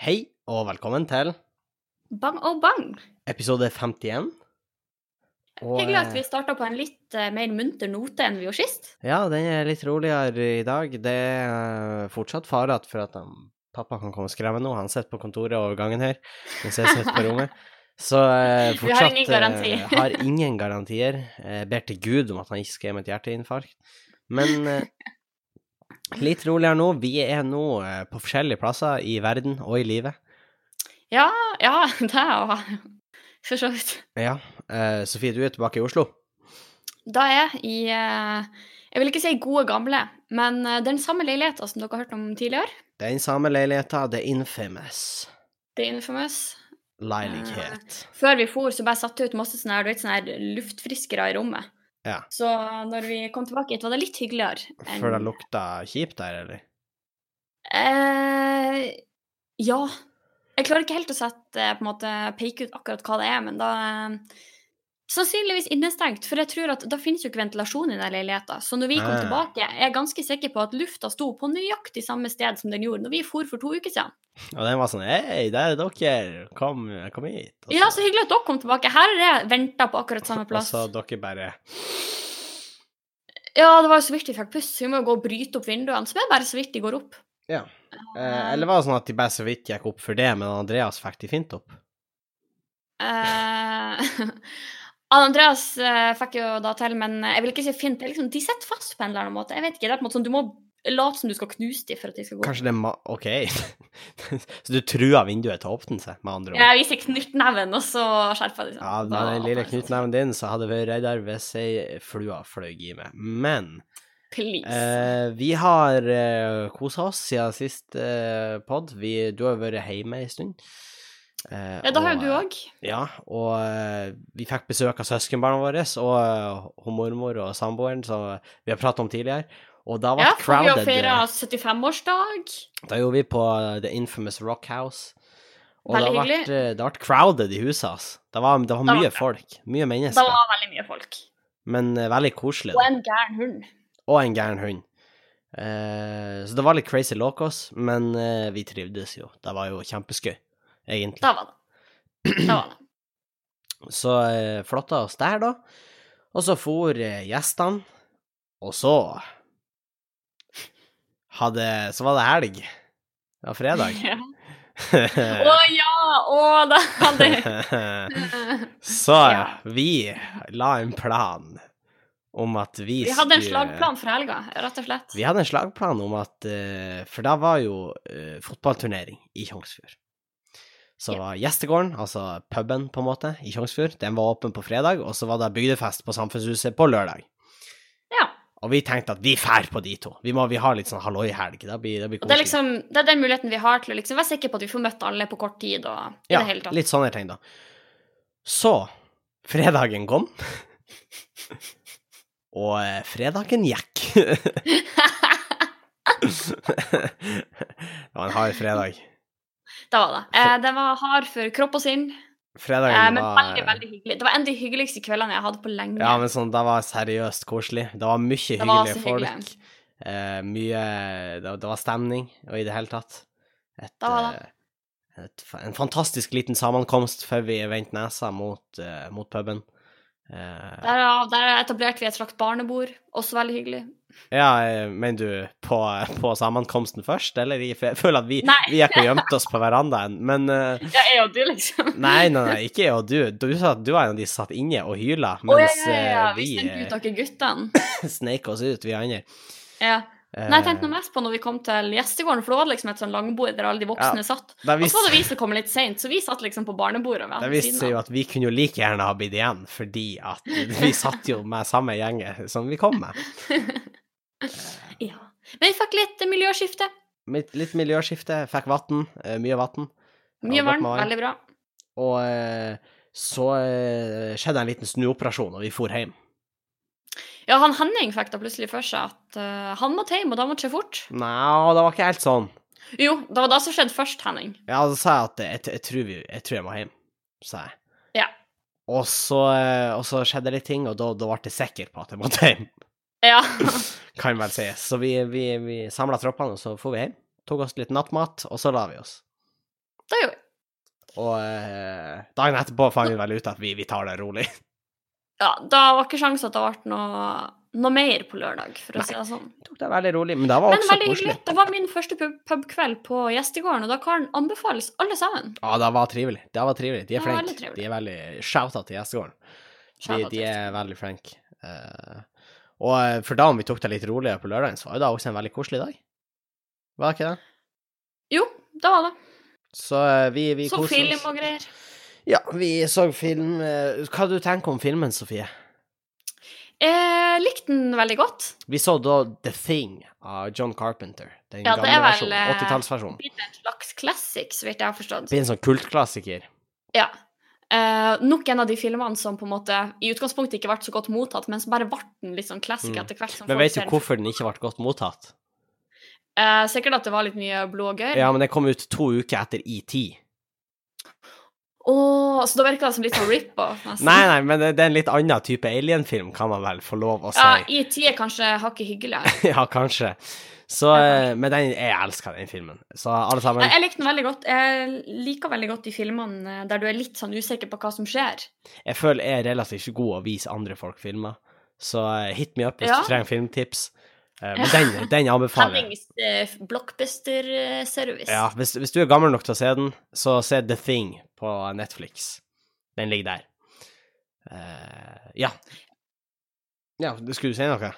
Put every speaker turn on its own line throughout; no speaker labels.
Hei, og velkommen til
Bang og bang.
episode 51. Og,
Hyggelig at vi
eh,
starta på en litt eh, mer munter note enn vi gjorde sist.
Ja, den er litt roligere i dag. Det er eh, fortsatt fare at- for at han, pappa kan komme og skremme nå. Han sitter på kontoret over gangen her, mens jeg sitter på rommet. Så eh,
Vi har
fortsatt
ingen garanti.
eh, har ingen garantier. Jeg ber til Gud om at han ikke skal gi meg et hjerteinfarkt. Men eh, litt roligere nå. Vi er nå eh, på forskjellige plasser i verden og i livet.
Ja, ja, det er jo for så vidt.
Ja. eh, Sofie, du er tilbake i Oslo.
Da er jeg i eh, Jeg vil ikke si gode gamle, men eh, den samme leiligheta som dere har hørt om tidligere.
Den samme leiligheta, The Infamous
Det er infamous.
leilighet.
Før vi for, så bare satte jeg ut masse sånne her, du vet, sånne her luftfriskere i rommet.
Ja.
Så når vi kom tilbake hit, var det litt hyggeligere. enn-
Før det lukta kjipt der, eller?
Eh, ja. Jeg klarer ikke helt å sette, eh, på en måte, peke ut akkurat hva det er, men da eh, Sannsynligvis innestengt, for jeg tror at da finnes jo ikke ventilasjon i den leiligheten. Så når vi kom
Ah.
tilbake, er jeg ganske sikker på at lufta sto på nøyaktig samme sted som den gjorde når vi for for to uker siden.
Og den var sånn Hei, der er dere! Kom, kom hit! Og
Ja, så hyggelig at dere kom tilbake. Her har jeg venta på akkurat samme plass.
Og så dere bare
Ja, det var jo så vidt vi fikk pust, så vi må jo gå og bryte opp vinduene. Så det er bare så vidt de går opp.
Ja. Eh, eller var det sånn at de bare så vidt gikk opp for det, men Andreas fikk de fint opp?
Eh, Andreas eh, fikk jo da til, men jeg vil ikke si fint. det er Liksom, de sitter fast på en eller annen måte. Jeg vet ikke, det er på en måte sånn, Du må late som du skal knuse dem for at de skal gå.
Kanskje det er ma... OK. så du trua vinduet til å åpne seg, med andre ord?
Jeg viser knyttneven, og så skjerper de seg.
Ja, med den lille knyttneven din så hadde jeg vært reddere hvis ei flua fløy i meg. Men
Please.
Eh, vi har uh, kosa oss siden sist eh, podd. Vi, du har jo vært hjemme en stund. Eh,
ja, da
og,
har jo du
eh,
òg.
Ja, og eh, vi fikk besøk av søskenbarna våre og eh, hun mormor og samboeren som vi har pratet om tidligere. Og da ble
Ja, for vi har
crowded. eh,
feira 75-årsdag.
Da gjorde vi på eh, The Infamous Rock House. Og da
Veldig
ble,
hyggelig.
eh, det ble crowded i huset hans. Det var, det var
var
mye
det.
folk. Mye
Da
mennesker.
var det veldig mye folk.
Men eh, veldig koselig.
Og
da.
en gæren hund.
og en gæren hund. Eh, så det var litt crazy locos, men eh, vi trivdes jo. Det var jo kjempeskøy, egentlig.
Da var det. Da var det.
Så eh, flotta oss der, da. Og så for eh, gjestene, og så hadde, Så var det helg. Det var fredag. Eh.
Ja. Å ja! Å, da hadde
så
Ja.
vi la en plan om at vi
Vi hadde en
skulle-
slagplan for helga, rett og slett.
Vi hadde en slagplan om at eh, For da var jo eh, fotballturnering i Tjongsfjord. Så
Ja.
var gjestegården, altså puben på en måte, i Tjongsfjord, den var åpen på fredag, og så var det bygdefest på Samfunnshuset på lørdag.
Ja.
Og vi tenkte at vi fær på de to. Vi må vi har litt sånn halloi-helg. Det blir, det blir
Og det er
koselig.
liksom, det er den muligheten vi har til å liksom være sikker på at vi får møtt alle på kort tid. og i
ja,
det hele tatt.
litt sånne ting, da. Så fredagen kom. og eh, fredagen gikk. det var en hard fredag.
det var det. Eh, det var hard for kropp og sinn,
Fredagen
eh, men
var
veldig veldig hyggelig. Det var en av de hyggeligste kveldene jeg hadde på lenge.
Ja, men sånn, det var seriøst koselig. Det var mye
det var
hyggelige
så
folk.
hyggelig.
Eh, mye det, det var stemning, og i det hele tatt et,
Det var det.
eh, et, fa- En fantastisk liten sammenkomst før vi vendte nesa mot, eh, mot puben. Eh,
Derav, der etablerte vi et slags barnebord, også veldig hyggelig.
Ja, eh, mener du på, på sammenkomsten først, eller? Jeg fø- føler at vi,
Nei.
vi gikk og gjemte oss på verandaen, men eh,
Ja, jeg og du, liksom.
Nei, nei, nei, ikke jeg og du. Du sa at du var en av de som satt inne og hyla,
Å ja,
mens
ja, ja, ja.
eh,
Vi
vi
sendte
eh,
ut dere guttene.
sneik oss ut, vi andre.
Ja.
Eh,
Nei, jeg tenkte nå mest på når vi kom til gjestegården, for da var det liksom et sånn langbord der alle de voksne satt.
det
Og så var
viste,
det vi som kom litt seint, så vi satt liksom på barnebordet. ved
det
siden
viste seg jo
av.
at vi kunne jo like gjerne ha blitt igjen, fordi at vi satt jo med samme gjengen som vi kom med.
Ja. Men vi fikk litt eh, miljøskifte.
Litt, litt miljøskifte, fikk vann, eh, mye vann.
Mye
Albert
varm,
Maher.
veldig bra.
Og eh, så eh, skjedde en liten snuoperasjon, og vi for hjem.
Ja, han Henning fikk da plutselig for seg at eh, han måtte hjem, og da måtte jeg fort.
Nei, det var ikke helt sånn.
Jo, det var det som skjedde først, Henning.
Ja, så sa jeg at jeg, jeg, tror, vi, jeg tror jeg må hjem, sa jeg.
Ja.
Og så, eh, og så skjedde litt ting, og da, da ble jeg sikker på at jeg måtte hjem,
Ja.
kan vel sies. Så vi, vi, vi samla troppene, og så for vi hjem. Tok oss litt nattmat, og så la vi oss.
Da er jo
Og eh, dagen etterpå fant vi vel ut at vi, vi tar det rolig.
Ja, da var ikke sjansen at det ble noe, noe mer på lørdag, for å
Nei.
si det sånn.
Vi tok det veldig rolig, men det var
Men
også
veldig
koselig.
hyggelig. Det var min første pub- pubkveld på gjestegården, og da kan den anbefales alle sammen.
Ja, det var trivelig. Det var trivelig. De er
Det var veldig
flinke.
trivelig.
De er veldig Shout-out til gjestegården. De,
Shout-out
de
til
er veldig flinke. Eh, og eh, for da om vi tok det litt roligere på lørdagen, så var jo det også en veldig koselig dag. Var det ikke det?
Jo, da var det.
Så eh, vi, vi
Så
koser
film
oss.
og greier.
Ja, vi så film eh, Hva du tenker om filmen, Sofie?
Jeg Eh, likte den veldig godt.
Vi så da The Thing av John Carpenter. Den
Ja, det
gamle
er vel,
versjonen.
eh,
80-tallsversjonen.
Blitt en slags classic, så vidt jeg har forstått.
Blir en sånn kultklassiker.
Ja. Eh, nok en av de filmene som på en måte i utgangspunktet ikke ble så godt mottatt, men som bare ble den litt sånn classic
Mm.
etter hvert. som
Men
folk
vet du
ser den.
hvorfor den ikke ble godt mottatt?
Eh, sikkert at det var litt mye blod og gørr.
Ja, men den kom ut to uker etter E ET.
Åh, så da virka det som litt sånn rip-off, nesten.
Nei, nei, men det det er en litt annen type alienfilm, kan man vel få lov å si.
Ja, ET er kanskje hakket hyggeligere.
Ja, kanskje. Så,
Ja,
eh, men den, jeg elsker den filmen. Så alle sammen
Jeg, jeg likte den veldig godt. Jeg liker veldig godt de filmene eh, der du er litt sånn usikker på hva som skjer.
Jeg føler jeg er relativt god å vise andre folk filmer. Så eh, hit me up hvis
Ja.
du trenger filmtips. Eh, Men
Ja.
den, den anbefaler jeg.
Hemmings eh, blockbuster-service.
Ja, hvis, hvis du er gammel nok til å se den, så se The Thing på Netflix. Den ligger der. Eh, ja. Ja, du- skulle du si noe?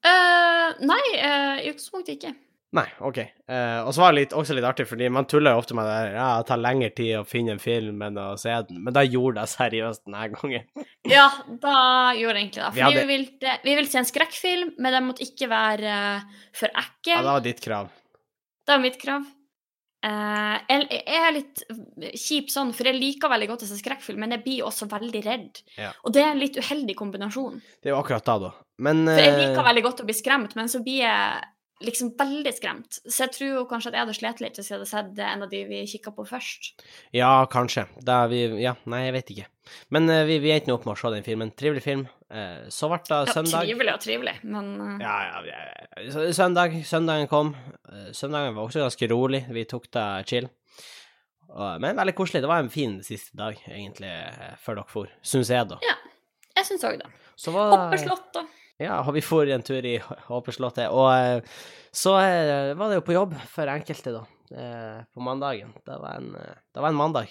Eh, nei, eh, i utgangspunktet ikke.
Nei, OK. Eh, og så var det litt, også litt artig, fordi man tuller jo ofte med det der, ja, det tar lengre tid å finne en film enn å se den, men da gjorde jeg seriøst denne gangen.
Ja, da gjorde jeg egentlig
Vi
det. Fordi vi,
hadde-
ville, vi ville se en skrekkfilm, men den måtte ikke være eh, for ekkel.
Ja, det var ditt krav.
Det er mitt krav. Eh, jeg, jeg er litt kjip sånn, for jeg liker veldig godt å se skrekkfilm, men jeg blir også veldig redd.
Ja.
Og det er en litt uheldig kombinasjon.
Det er jo akkurat da, da. Men
For jeg
eh,
liker veldig godt å bli skremt, men så blir jeg liksom veldig skremt. Så jeg tror jo kanskje at jeg hadde slitt litt hvis jeg hadde sett en av de vi kikka på først.
Ja, kanskje. Da er vi Ja, nei, jeg vet ikke. Men eh, vi, vi endte nå opp med å se den filmen. Trivelig film. Eh, så ble det
Ja,
søndag.
trivelig og trivelig, men eh,
Ja, ja, ja, ja. Så- Søndag, søndagen kom. Eh, Søndagen var også ganske rolig. Vi tok det chill. Og- Men veldig koselig. Det var en fin siste dag, egentlig, eh, før dere for, syns jeg, da.
jeg syns òg det.
Så var
Hopper
det
slott, da.
Ja, og vi for en tur i Håperslottet. Og eh, så eh, var det jo på jobb for enkelte, da, eh, på mandagen. Det var en, eh, det var en mandag.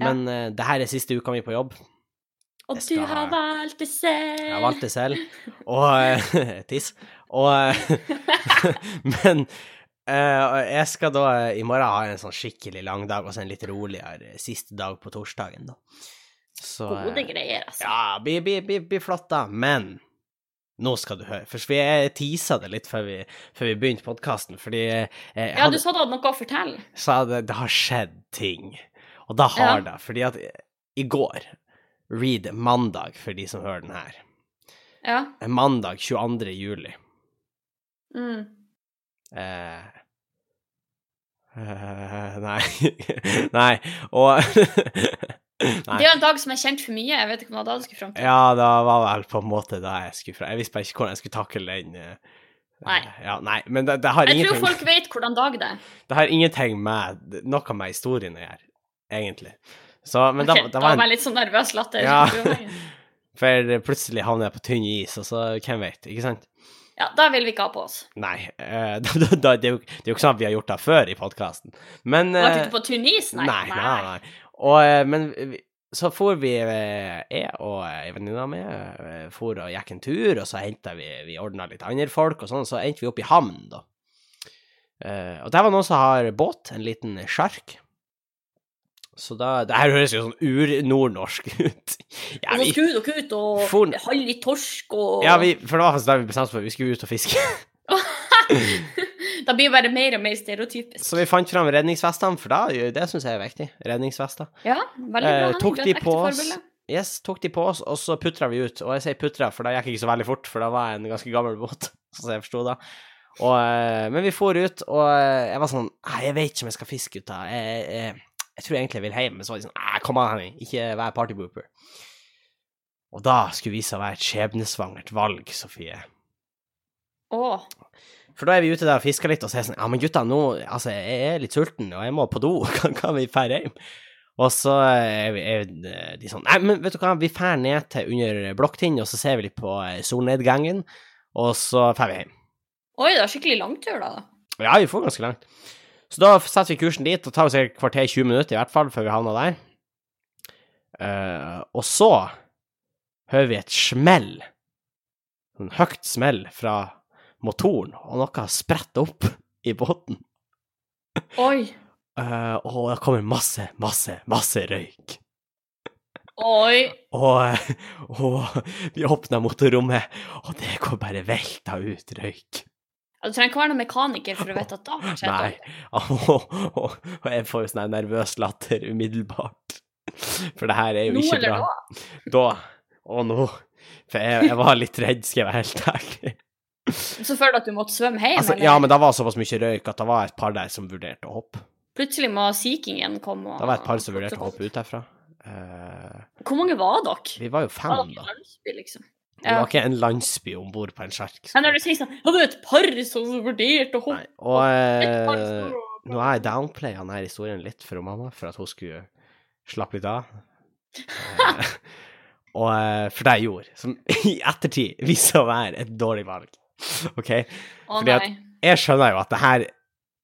Ja.
Men eh, det her er siste uka mi på jobb.
Og
Jeg
du
skal-
har valgt det selv.
Jeg valgte selv. Og eh, Tiss. Og eh, Men eh, jeg skal da eh, i morgen ha en sånn skikkelig lang dag, og så en litt roligere siste dag på torsdagen, da. Så eh,
Gode greier, altså.
Ja, bli, bli, bli, bli flott, da. Men nå skal du høre. For jeg tisa det litt før vi, før vi begynte podkasten, fordi eh, jeg
Ja,
hadde,
du sa du hadde noe å fortelle.
sa det, det har skjedd ting. Og det har det. Fordi at i går, read mandag for de som hører den her,
Ja.
mandag 22. juli
Mm.
eh, eh, Nei. nei. Og
Det er jo en dag som er kjent for mye. Jeg vet ikke om det var da du skulle fram til.
Ja, det var vel på en måte det jeg skulle fra. Jeg visste bare ikke hvordan jeg skulle takle den. eh,
Nei.
Ja, nei, men det, det, har
Jeg tror
ingenting,
folk vet hvordan dag det er.
det har ingenting med noe med historien å gjøre, egentlig. Så, men
Ok,
det,
da
det var
var
en
jeg litt sånn nervøs latter.
Ja.
ja,
For plutselig havner jeg på tynn is, og så hvem vet, ikke sant?
da vil vi ikke ha på oss.
Nei. eh, da, da, da, det, er jo, det er jo ikke sånn at vi har gjort det før i podkasten, men
Har vært
eh,
ute på tynn is? Nei.
nei, nei, nei. Og, eh, men vi- så for vi, eh, jeg og eh, ei venninne av meg, eh, for og gikk en tur, og så hentet vi, vi ordna litt andre folk, og sånn, så endte vi opp i havn, da. Eh, og der var noen som har båt, en liten sjark. Så da Det her høres jo sånn ur-nordnorsk ut. Ja,
Og så
vi,
skulle dere ut og
For-
holde litt torsk og
ja vi, for det var faktisk da vi bestemte oss for, vi skulle ut og fiske.
Da blir det bare mer og mer stereotypisk.
Så vi fant fram redningsvestene, for da, det syns jeg er viktig. Redningsvester.
Ja, veldig bra.
Eh,
Henrik,
tok
du er
de
et ekte
på oss?
forbilde.
Yes, tok de på oss, og så putra vi ut. Og jeg sier putra, for da gikk jeg ikke så veldig fort, for da var jeg en ganske gammel båt, som jeg forsto da. Og, eh, men vi for ut, og eh, jeg var sånn «Nei, Jeg vet ikke om jeg skal fiske ut da. Jeg, jeg, jeg tror egentlig jeg vil hjem, men så var de sånn «Nei, Kom an, Henning, ikke vær partybooper. Og da skulle vise seg å være et skjebnesvangert valg, Sofie.
Å,
For da er vi ute der og fisker litt og så er jeg sånn Ja, men gutta, nå Altså, jeg er litt sulten, og jeg må på do. Kan, kan vi dra hjem? Og så er vi- er de sånn Nei, men vet du hva, vi drar ned til under Blokktind, og så ser vi litt på eh, solnedgangen, og så drar vi hjem.
Oi, det er skikkelig langtur, da.
Ja, vi får ganske langt. Så da setter vi kursen dit, og tar oss et kvarter 20 minutter i hvert fall, før vi havner der. Eh, og så hører vi et smell. En høyt smell fra motoren, og noe spretter opp i båten.
Oi.
Eh, og det kommer masse, masse, masse røyk.
Oi.
Og, og vi åpner motorrommet, og det går bare velta ut røyk.
Ja, Du trenger ikke være noen mekaniker for å vite at da har skjedd
Nei.
noe.
Og, og, og jeg får jo sånn her nervøs latter umiddelbart. For det her er jo
Nå
ikke
eller
bra.
da.
Da og nå. For jeg, jeg var litt redd, skal jeg være helt ærlig.
Så føler du at du måtte svømme hjem,
Altså,
eller?
ja, men det var såpass mye røyk at det var et par der som vurderte å hoppe.
Plutselig må Sea Kingen komme og
Det var et par som vurderte å hoppe ut derfra. Eh,
Hvor mange var dere?
vi var jo
Var
fem,
dere
da.
i landsby, liksom?
Det var ikke en landsby om bord på en sjark.
Men når du sier sånn Hadde du et par som vurderte å
Nei,
hoppe
og
Et par
eh,
som-
nå har jeg downplaya denne historien litt for mamma, for at hun skulle slappe litt av. Eh, og eh, For det jeg gjorde, som i ettertid viste seg å være et dårlig valg. OK?
Å
fordi at-
nei.
Jeg skjønner jo at det her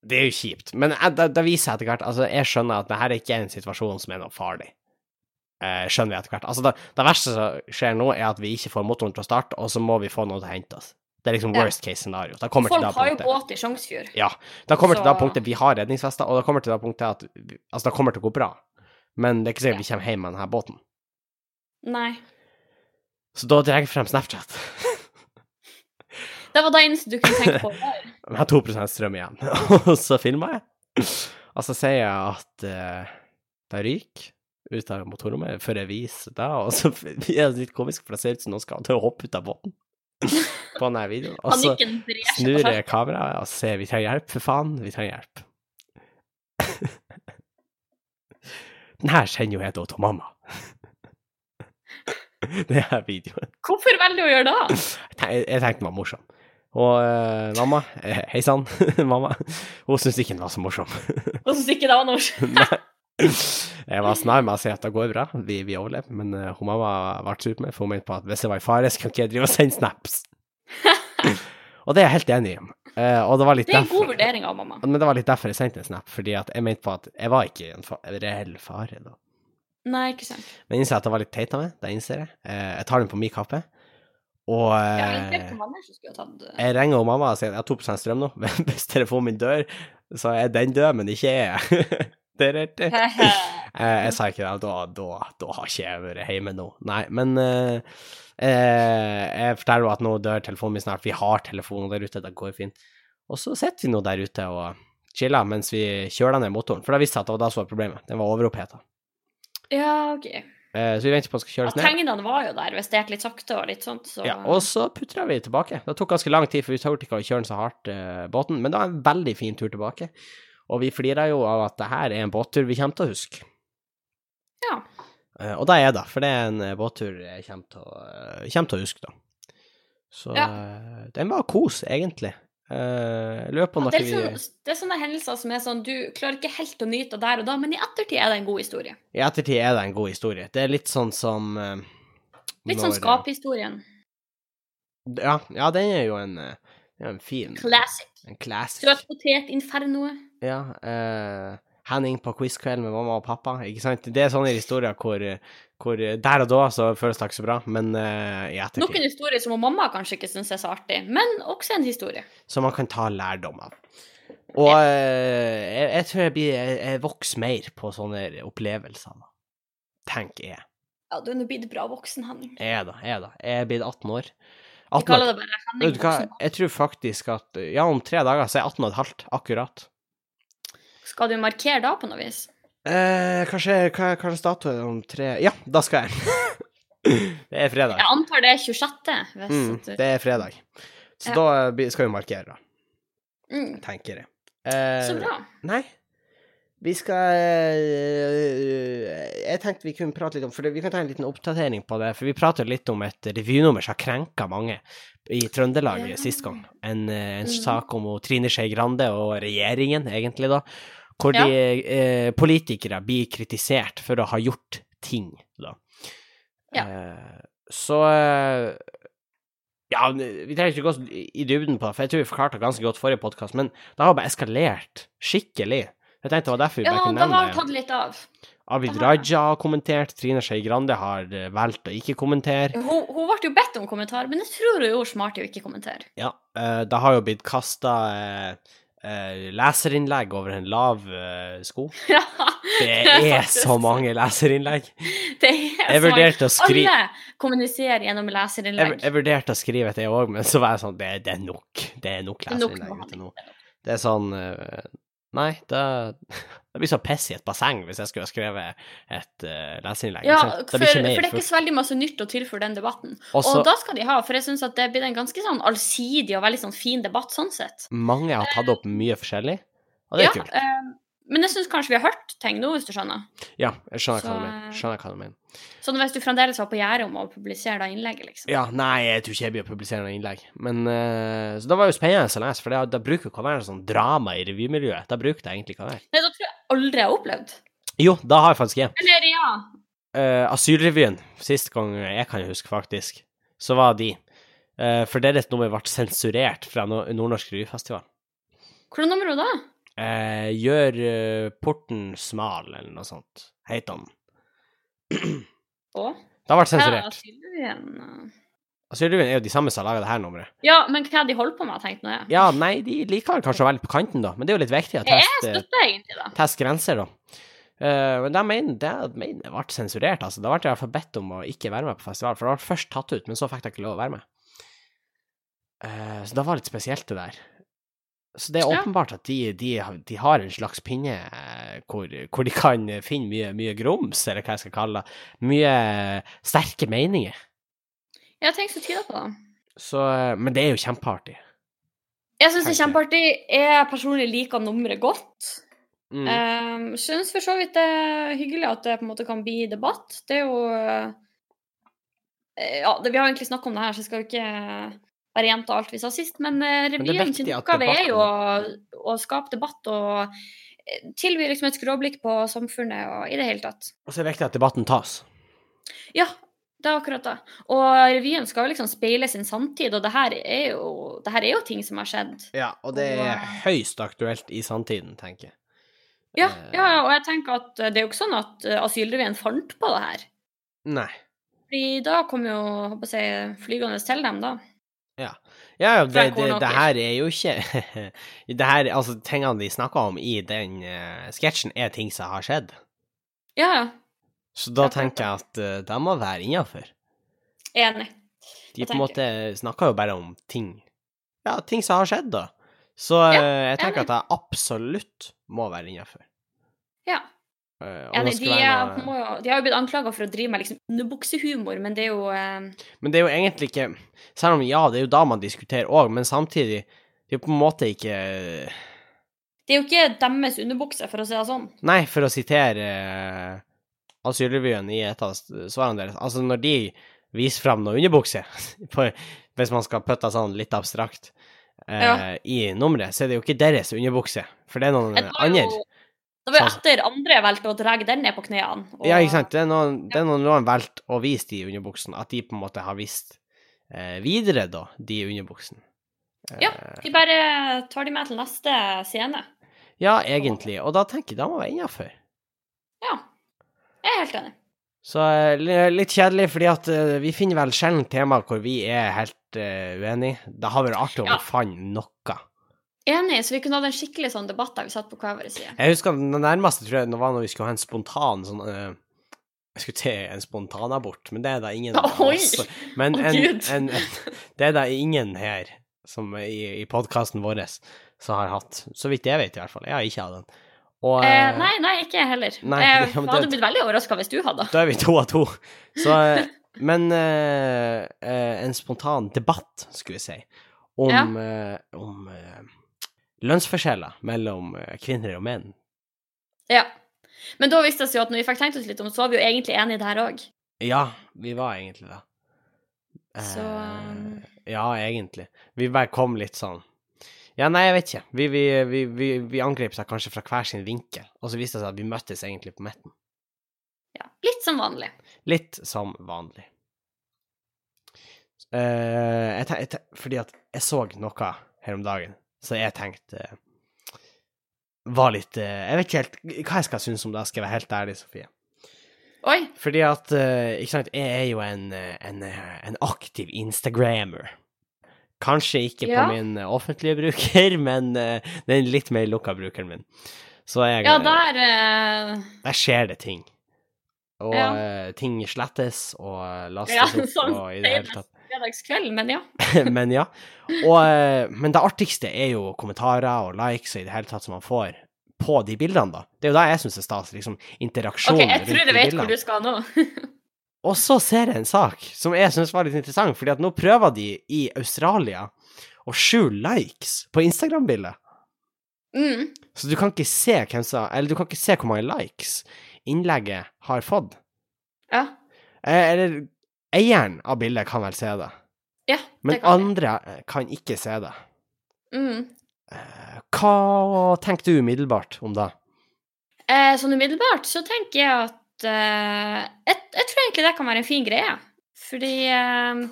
Det er jo kjipt, men jeg, det, det viser seg etter hvert Altså, jeg skjønner at det her er ikke en situasjon som er noe farlig. Eh, skjønner vi etter hvert. Altså, det, det verste som skjer nå, er at vi ikke får motoren til å starte, og så må vi få noen til å hente oss. Det er liksom
Ja.
worst case scenario. Da kommer til
Folk
det
har jo
punktet.
båt i Sjongsfjord.
Da kommer til
Så-
det punktet vi har redningsvester, og da kommer til det punktet at vi- Altså, det kommer til å gå bra, men det er ikke sikkert vi kommer hjem med denne båten.
Nei.
Så da drar jeg frem Snapchat.
Det var det eneste du kunne tenke på. der.
Jeg har 2 strøm igjen, og så filmer jeg. Og så sier jeg at eh, det ryker ut av motorrommet før jeg viser det, og så det er litt komisk, for det ser ut som noen skal til å hoppe ut av båten på denne videoen. Og så
Panikken brer seg.
snur
på skjermen.
jeg kameraet og ser vi trenger hjelp, for faen, vi trenger hjelp. Den her sender jo jeg da til mamma. Det er videoen.
Hvorfor velger du å gjøre det?
Jeg ten- Jeg tenkte den var morsom. Og eh, mamma, eh, hei sann, mamma, hun syntes ikke den var så morsom.
Og så ikke det var noe
Nei. Jeg var snar med å si at det går bra, vi, vi overlever, men eh, hun mamma ble sur på meg, for hun mente på at hvis jeg var i fare, så kan ikke jeg drive og sende snaps. Og det er jeg helt enig i. Eh, og det var litt
Det er en god
derfor-
vurdering av mamma.
men det var litt derfor jeg sendte en snap, fordi at jeg mente på at jeg var ikke i en fa reell fare da.
Nei, ikke sant.
Men jeg innser at det var litt teit av meg, det innser jeg. Eh, jeg tar den på min kappe, og
Ja,
eh,
eventuelt mamma som skulle ha tatt det.
jeg ringer jo mamma og sier at jeg har 2 strøm nå, men hvis telefonen min dør, så er den død, men ikke jeg. det er rett. Eh, jeg sa ikke det, da, da, da har ikke jeg vært hjemme nå. Nei, men eh, eh, jeg forteller jo at nå dør telefonen min snart, vi har telefonen der ute, det går fint. Og så sitter vi nå der ute og chiller mens vi kjøler ned motoren, for da visste jeg at det var det som var problemet, den var overoppheta.
Ja, OK.
Eh, så vi venter på at den skal
Ja,
kjøles ned.
tegnene var jo der, hvis det gikk litt sakte og litt sånt, så
Ja, og så putra vi tilbake. Det tok ganske lang tid, for vi turte ikke å kjøre den så hardt, eh, båten, men det var en veldig fin tur tilbake. Og vi flira jo av at det her er en båttur vi kommer til å huske.
Ja.
Eh, og det er det, for det er en eh, båttur jeg kommer til å, eh, kommer til å huske, da. Så
Ja.
eh, den var kos, egentlig. Eh, jeg lurer på om
det,
dere
er
vil
sånn, det er sånne hendelser som er sånn Du klarer ikke helt å nyte det der og da, men i ettertid er det en god historie.
I ettertid er det en god historie. Det er litt sånn som eh,
Litt sånn
når-
skaphistorien.
Ja, ja, den er jo en, eh, det er en fin
Classic.
En classic.
Søt potet infernoe.
Ja. eh, Henning på quizkveld med mamma og pappa, ikke sant? Det er sånne historier hvor, hvor eh, der og da så føles det ikke så bra, men eh, i ettertid.
Noen historier som mamma kanskje ikke syns er så artig, men også en historie.
Som man kan ta lærdom av. Og eh, jeg, jeg tror jeg blir Jeg, jeg vokser mer på sånne opplevelser, da. Tenker jeg.
Ja, du er nå blitt bra voksen, Henning.
Jeg er da, jeg er da. Jeg er blitt 18 år.
Vi
18 år.
kaller det bare Henning.
Vet du hva,
Voksen.
jeg tror faktisk at Ja, om tre dager så er jeg 18 og et halvt, akkurat.
Skal du markere da på noe vis?
Eh, kanskje hva hva slags dato er det om tre Ja, da skal jeg. det er fredag.
Jeg antar det er 26. Hvis
Mm,
at du...
det er fredag. Så eh,
Ja.
da blir- skal vi markere, da,
mm.
tenker jeg. Eh,
Så bra.
Nei, Vi skal eh, Jeg tenkte vi kunne prate litt om For det- vi kan ta en liten oppdatering på det. For vi prater litt om et revynummer som har krenka mange i Trøndelag
Ja.
sist gang. En, eh, en
Mhm.
sak om hun Trine Skei Grande og regjeringen, egentlig, da. Hvor de eh, politikere blir kritisert for å ha gjort ting, da.
Ja.
Eh, så eh, Ja, vi trenger ikke gå så i dybden på det, for jeg tror vi forklarte det ganske godt forrige podkast, men det har bare eskalert skikkelig. Jeg tenkte det var derfor vi
Ja,
bare kunne
da
nevne
har det
det.
tatt litt av.
Abid
det har-
Raja har kommentert, Trine Skei Grande har eh, valgt å ikke kommentere.
Hun, hun ble jo bedt om kommentar, men jeg tror hun gjorde smart i å ikke kommentere.
Ja, eh, det har jo blitt kasta leserinnlegg over en lav eh, sko.
Ja,
Det
Det er
er så
faktisk-
mange leserinnlegg.
det er
Jeg
smart.
vurderte å skrive
Alle kommuniserer gjennom
jeg,
leserinnlegg.
jeg vurderte å skrive et, jeg òg, men så var jeg sånn Det, det er nok. Det er nok
Det er nok
leserinnlegg ute nå.
behandling.
Det er sånn eh, Nei, det, det blir så piss i et basseng hvis jeg skulle ha skrevet et eh, leserinnlegg.
Ja,
ikke sant?
for, for
blir
det er ikke
fullt.
så veldig masse nytt å tilføre den debatten.
Og så
og da skal de ha, for jeg syns at det blir en ganske sånn allsidig og veldig sånn fin debatt sånn sett.
mange har tatt opp mye forskjellig, og det er
Ja,
kult.
eh, men jeg syns kanskje vi har hørt ting nå, hvis du skjønner.
Ja, jeg skjønner hva du
så-
mener. Skjønner hva du mener.
Sånn hvis du fremdeles var på gjerdet om å publisere da innlegget, liksom.
Ja, nei, jeg tror ikke jeg blir å publisere noe innlegg. Men eh, Så det var jo spennende å lese, for det- da bruker jo ikke å være sånn drama i revymiljøet. Da bruker det egentlig ikke å være
Nei, da tror jeg aldri jeg har opplevd.
Jo, da har jeg faktisk en.
Eller ja.
Eh, Asylrevyen, sist gang jeg kan huske, faktisk, så var de. Eh, for deres nummer ble sensurert fra no Nordnorsk revyfestival.
Hvordan nummer hun da?
Eh, gjør eh, porten smal, eller noe sånt, heter den.
Å?
Det har vært
Ja,
sensurert.
asylrevyen.
Asylrevyen er jo de samme som har laga det her nummeret.
eh, Ja, men hva de holder på med, tenkte nå jeg.
Ja, nei, de liker vel kanskje å være litt på kanten, da, men det er jo litt viktig å
Jeg
teste,
støtter egentlig det.
teste grenser, da. Eh, men de mener det mener det ble sensurert, altså. Da ble jeg i hvert fall bedt om å ikke være med på festival, for det ble først tatt ut, men så fikk jeg ikke lov å være med. Eh, så det var litt spesielt, det der. Så det er
Ja.
åpenbart at de, de, de har en slags pinne eh, hvor, hvor de kan finne mye, mye grums, eller hva jeg skal kalle det. Mye eh, sterke meninger.
Jeg tenker så tyder på det.
Så, eh, men det er jo kjempeartig.
Jeg syns det er
Tenkte
kjempeartig. Jeg personlig liker nummeret godt.
Mm.
Mm. syns for så vidt det er hyggelig at det på en måte kan bli debatt. Det er jo eh, Ja, det, vi har egentlig snakka om det her, så jeg skal jo ikke eh, bare gjenta alt vi sa sist. Men uh,
det er
revyen
viktig
sin
at
oppgave er jo å, å skape debatt og eh, tilby liksom et skråblikk på samfunnet og i det hele tatt.
Og så er det viktig at debatten tas.
Ja, det er akkurat det. Og revyen skal jo liksom speile sin samtid, og det her er jo, det her er jo ting som har skjedd.
Ja, og det er
Og-
høyst aktuelt i samtiden, tenker jeg.
Ja,
Eh,
ja, ja, og jeg tenker at eh, det er jo ikke sånn at eh, asylrevyen fant på det her.
Nei.
Fordi da kom jo håper jeg, å si, flygende til dem, da.
Ja, ja, det,
Frank
det,
Hornaker.
det her er jo ikke Det her, altså, tingene de snakker om i den eh, sketsjen, er ting som har skjedd.
Ja,
Så da
Akkurat.
tenker jeg at eh, de må være innafor.
ja. Enig.
De på
Jeg
en måte snakker jo bare om ting Ja, ting som har skjedd, da. Så
Ja,
eh, jeg tenker
enig.
at jeg absolutt må være Eh, innafor.
Ja. Enig. De, er, må jo, de har jo blitt anklaga for å drive med liksom underbuksehumor, men det er jo eh,
Men det er jo egentlig ikke Selv om ja, det er jo da man diskuterer òg, men samtidig Det er jo på en måte ikke
Det er jo ikke deres underbukse, for å si det sånn.
Nei, for å sitere eh, Asylrevyen i et av s- svarene deres Altså, når de viser fram noen underbukser, på- hvis man skal putte det sånn litt abstrakt eh,
Ja.
i nummeret, så er det jo ikke deres underbukse, for det er noen
Det var
andre.
jo, det var jo
Eh, Sånn.
etter andre valgte å dra den ned på knærne. og-
Ja, ikke sant. Det er noen, det er noen, noen valgt å vise de underbuksene, at de på en måte har vist eh, videre, da, de underbuksene.
Ja. De bare tar de med til neste scene.
Ja, egentlig. Og da tenker jeg da må jeg være innafor.
Ja. Jeg er helt enig.
Så eh, li- litt kjedelig, fordi at eh, vi finner vel sjelden temaer hvor vi er helt eh, uenige. Det har vært artig om vi
Ja.
fant noe.
Enig, så vi kunne hatt en skikkelig sånn debatt der vi satt på hver vår side.
Jeg husker det nærmeste tror jeg det var når vi skulle ha en spontan sånn eh, Jeg skulle til en spontanabort, men det er da ingen av
Oi!
oss. Men
Å,
en,
Gud.
en, det er da ingen her som er i, i podkasten vår som har hatt. Så vidt jeg vet, i hvert fall. Jeg har ikke hatt den. Og
Eh,
eh,
nei, nei, ikke jeg heller.
nei,
jeg
ja, men
hadde
det-
blitt veldig overraska hvis du hadde.
Da er vi to av to. Så, eh, men eh, eh, en spontan debatt, skulle vi si, om,
Ja.
eh, om eh, lønnsforskjeller mellom eh, kvinner og menn.
Ja. Men da viste det seg jo at når vi fikk tenkt oss litt om, så var vi jo egentlig enige der òg.
Ja, vi var egentlig det. Eh,
Så, um,
Ja, egentlig. Vi bare kom litt sånn Ja, nei, jeg vet ikke. Vi, vi, vi, vi, vi angrep seg kanskje fra hver sin vinkel, og så viste det seg at vi møttes egentlig på midten.
Ja, litt som vanlig.
Litt som vanlig. Eh, jeg, te- jeg, te- fordi at jeg så noe her om dagen, så jeg tenkte eh, Var litt eh, Jeg vet ikke helt hva jeg skal synes om det, skal jeg være helt ærlig, Sofie.
Oi.
Fordi at, eh, ikke sant, jeg er jo en, eh, en, eh, en aktiv instagrammer. Kanskje ikke
Ja.
på min eh, offentlige bruker, men eh, den litt mer lukka brukeren min. Så jeg,
Ja, der eh,
der skjer det ting. Og
Ja.
eh, ting slettes og eh, lastes
Ja,
opp
sånn
og i det
sier
hele
det.
tatt.
fredagskveld, men ja.
men ja. Og, eh, men det artigste er jo kommentarer og likes og i det hele tatt som man får på de bildene, da. Det er jo det jeg syns er stas. Liksom
OK,
interaksjonen
jeg tror
de
jeg vet
bildene.
hvor du skal nå.
Og så ser jeg en sak som jeg syns var litt interessant, fordi at nå prøver de i Australia å skjule likes på Instagram-bildet.
Mm.
Så du kan ikke se hvem som Eller du kan ikke se hvor mange likes innlegget har fått.
Ja.
Eh, Eller eieren av bildet kan vel se det,
ja det
men
kan jeg.
andre eh, kan ikke se det.
Mm.
Eh, Hva tenker du umiddelbart om det?
Eh, sånn umiddelbart så tenker jeg at eh, jeg, jeg tror egentlig det kan være en fin greie. Fordi eh,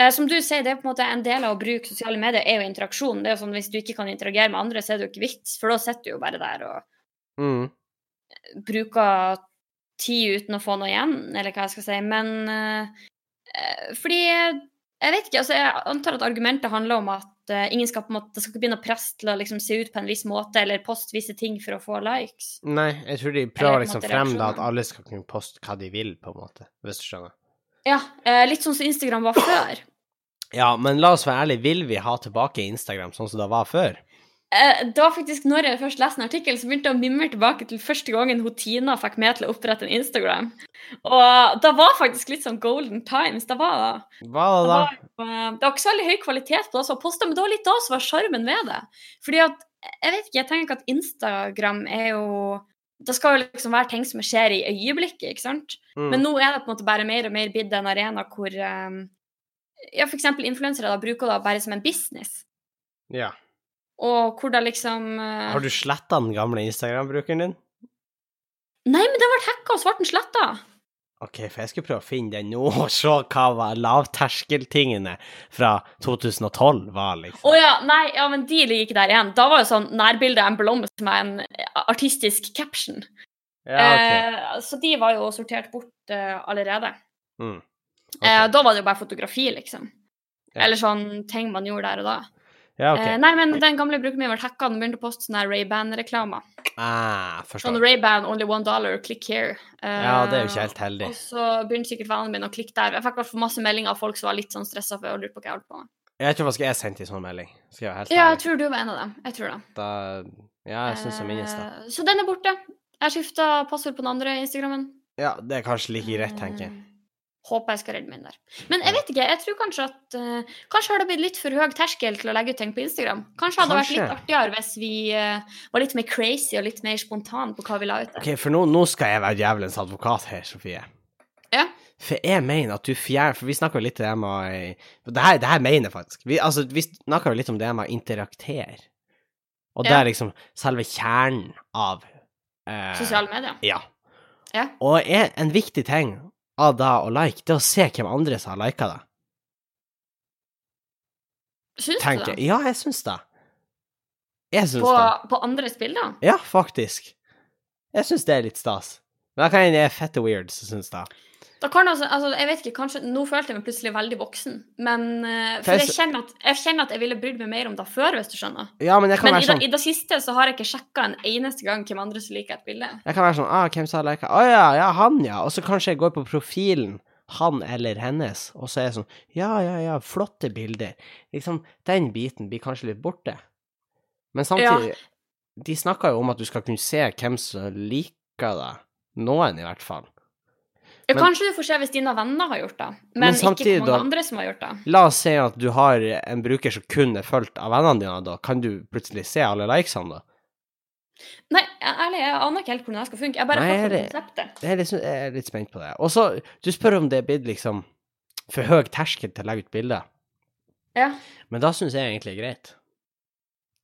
eh, som du sier, det er på en måte en del av å bruke sosiale medier er jo interaksjon. Det er jo sånn Hvis du ikke kan interagere med andre, så er det jo ikke vits, for da sitter du jo bare der og
Mm.
bruker tid uten å få noe igjen, eller hva jeg skal si. Men eh, eh, fordi eh, Jeg vet ikke, altså jeg antar at argumentet handler om at eh, ingen skal på en måte, det skal ikke begynne å presse til å liksom se ut på en viss måte, eller poste visse ting for å få likes.
Nei, jeg tror de
på en
prøver liksom
måte
frem da at
reaksjonen.
alle skal kunne poste hva de vil, på en måte, hvis du skjønner.
Ja, eh, litt sånn som Instagram var før.
Ja, men la oss være ærlige, vil vi ha tilbake Instagram sånn som det var før?
Eh, det var faktisk når jeg først leste en artikkel, så begynte jeg å mimre tilbake til første gangen hun Tina fikk meg til å opprette en Instagram. Og det var faktisk litt sånn golden times. Det var,
Hva
det
da?
var, eh, det var ikke så veldig høy kvalitet på det som var posta, men det var litt da som var sjarmen ved det. Fordi at, jeg vet ikke, jeg tenker ikke at Instagram er jo Det skal jo liksom være ting som skjer i øyeblikket, ikke sant?
Mm.
Men nå er det på en måte bare mer og mer blitt en arena hvor um, ja, f.eks. influensere da bruker det bare som en business.
ja.
Og hvor det liksom uh,
Har du sletta den gamle Instagram-brukeren din?
Nei, men den ble hacka, og så ble den sletta!
OK, for jeg skulle prøve å finne den nå, og se hva var lavterskeltingene fra 2012 var, liksom.
Å ja, nei, ja, men de ligger ikke der igjen. Da var jo sånn nærbilde en blomst med en artistisk caption.
Ja, ok.
Eh, så de var jo sortert bort eh, allerede.
Mm.
Eh,
Ok.
da var det jo bare fotografi, liksom.
Ja.
Eller sånn ting man gjorde der og da.
Ja, OK.
Eh, nei, men den gamle brukeren min ble hacka, den begynte å poste sånne Ray-Ban-reklamer.
Ah,
Sånn
forstår.
Ray-Ban, only one dollar, click here. Eh,
Ja, det er jo ikke helt heldig.
Og så begynte sikkert vennene mine å klikke der. Jeg fikk i hvert fall masse meldinger av folk som var litt sånn stressa for å lure på hva jeg holdt på med.
Jeg tror faktisk jeg sendte en sånn melding. Skal jeg være helt
Ja, jeg
ærlig.
tror du var en av dem. Jeg tror det.
Da, ja, jeg syns jeg minnes det.
Eh, Så den er borte. Jeg skifta passord på den andre Instagrammen.
Ja, det er kanskje like greit, tenker jeg.
Eh, Håper jeg skal redde min der. Men jeg vet ikke, jeg tror kanskje at eh, Kanskje har det blitt litt for høy terskel til å legge ut ting på Instagram. Kanskje hadde det vært litt
Kanskje.
artigere hvis vi eh, var litt mer crazy og litt mer spontan på hva vi la ut. der.
OK, for nå, nå skal jeg være djevelens advokat her, Sofie.
Ja.
For jeg mener at du fjerner For vi snakker jo litt om det med for det her, det her mener jeg faktisk. Vi, altså, vi snakker jo litt om det med å interaktere. Og det
Ja.
er liksom selve kjernen av eh,
Sosiale medier.
Ja.
Ja.
Og er en viktig ting av det å like, det er å se hvem andre som har lika det.
Syns du
Tenker
det?
jeg. Ja, jeg syns det. Jeg syns
På,
det.
på andres bilder?
Ja, faktisk. Jeg syns det er litt stas. Men da kan jeg det er fette weird, så syns jeg.
Da kan altså, altså, jeg vet ikke, kanskje, Nå følte jeg meg plutselig veldig voksen. Men, eh, for
Hva er
jeg
så-
kjenner, at, jeg kjenner at jeg ville brydd meg mer om det før, hvis du skjønner.
Ja, men jeg kan
Men i
være
det,
sånn
i det siste så har jeg ikke sjekka en eneste gang hvem andre som liker et bilde.
Jeg kan være sånn ah, 'Hvem sa jeg liker?' 'Å ja, ja, han, ja.' Og så kanskje jeg går på profilen, han eller hennes, og så er jeg sånn 'Ja, ja, ja, flotte bilder'. Liksom, den biten blir kanskje litt borte. Men samtidig De snakker jo om at du skal kunne se hvem som liker deg. Noen, i hvert fall. Men-
Kanskje du får se hvis dine venner har gjort det, men,
Men
ikke
samtidig
hvor
da-
mange andre som har gjort det.
La oss si at du har en bruker som kun er fulgt av vennene dine, da kan du plutselig se alle likesene, da?
Nei, jeg- ærlig, jeg aner ikke helt hvordan det skal funke. Jeg bare
Nei,
fatter
det-
konseptet.
Jeg er litt, jeg er litt spent på det. Og så, du spør om det er blitt liksom for høy terskel til å legge ut bilde.
Ja.
Men da syns jeg egentlig det er greit.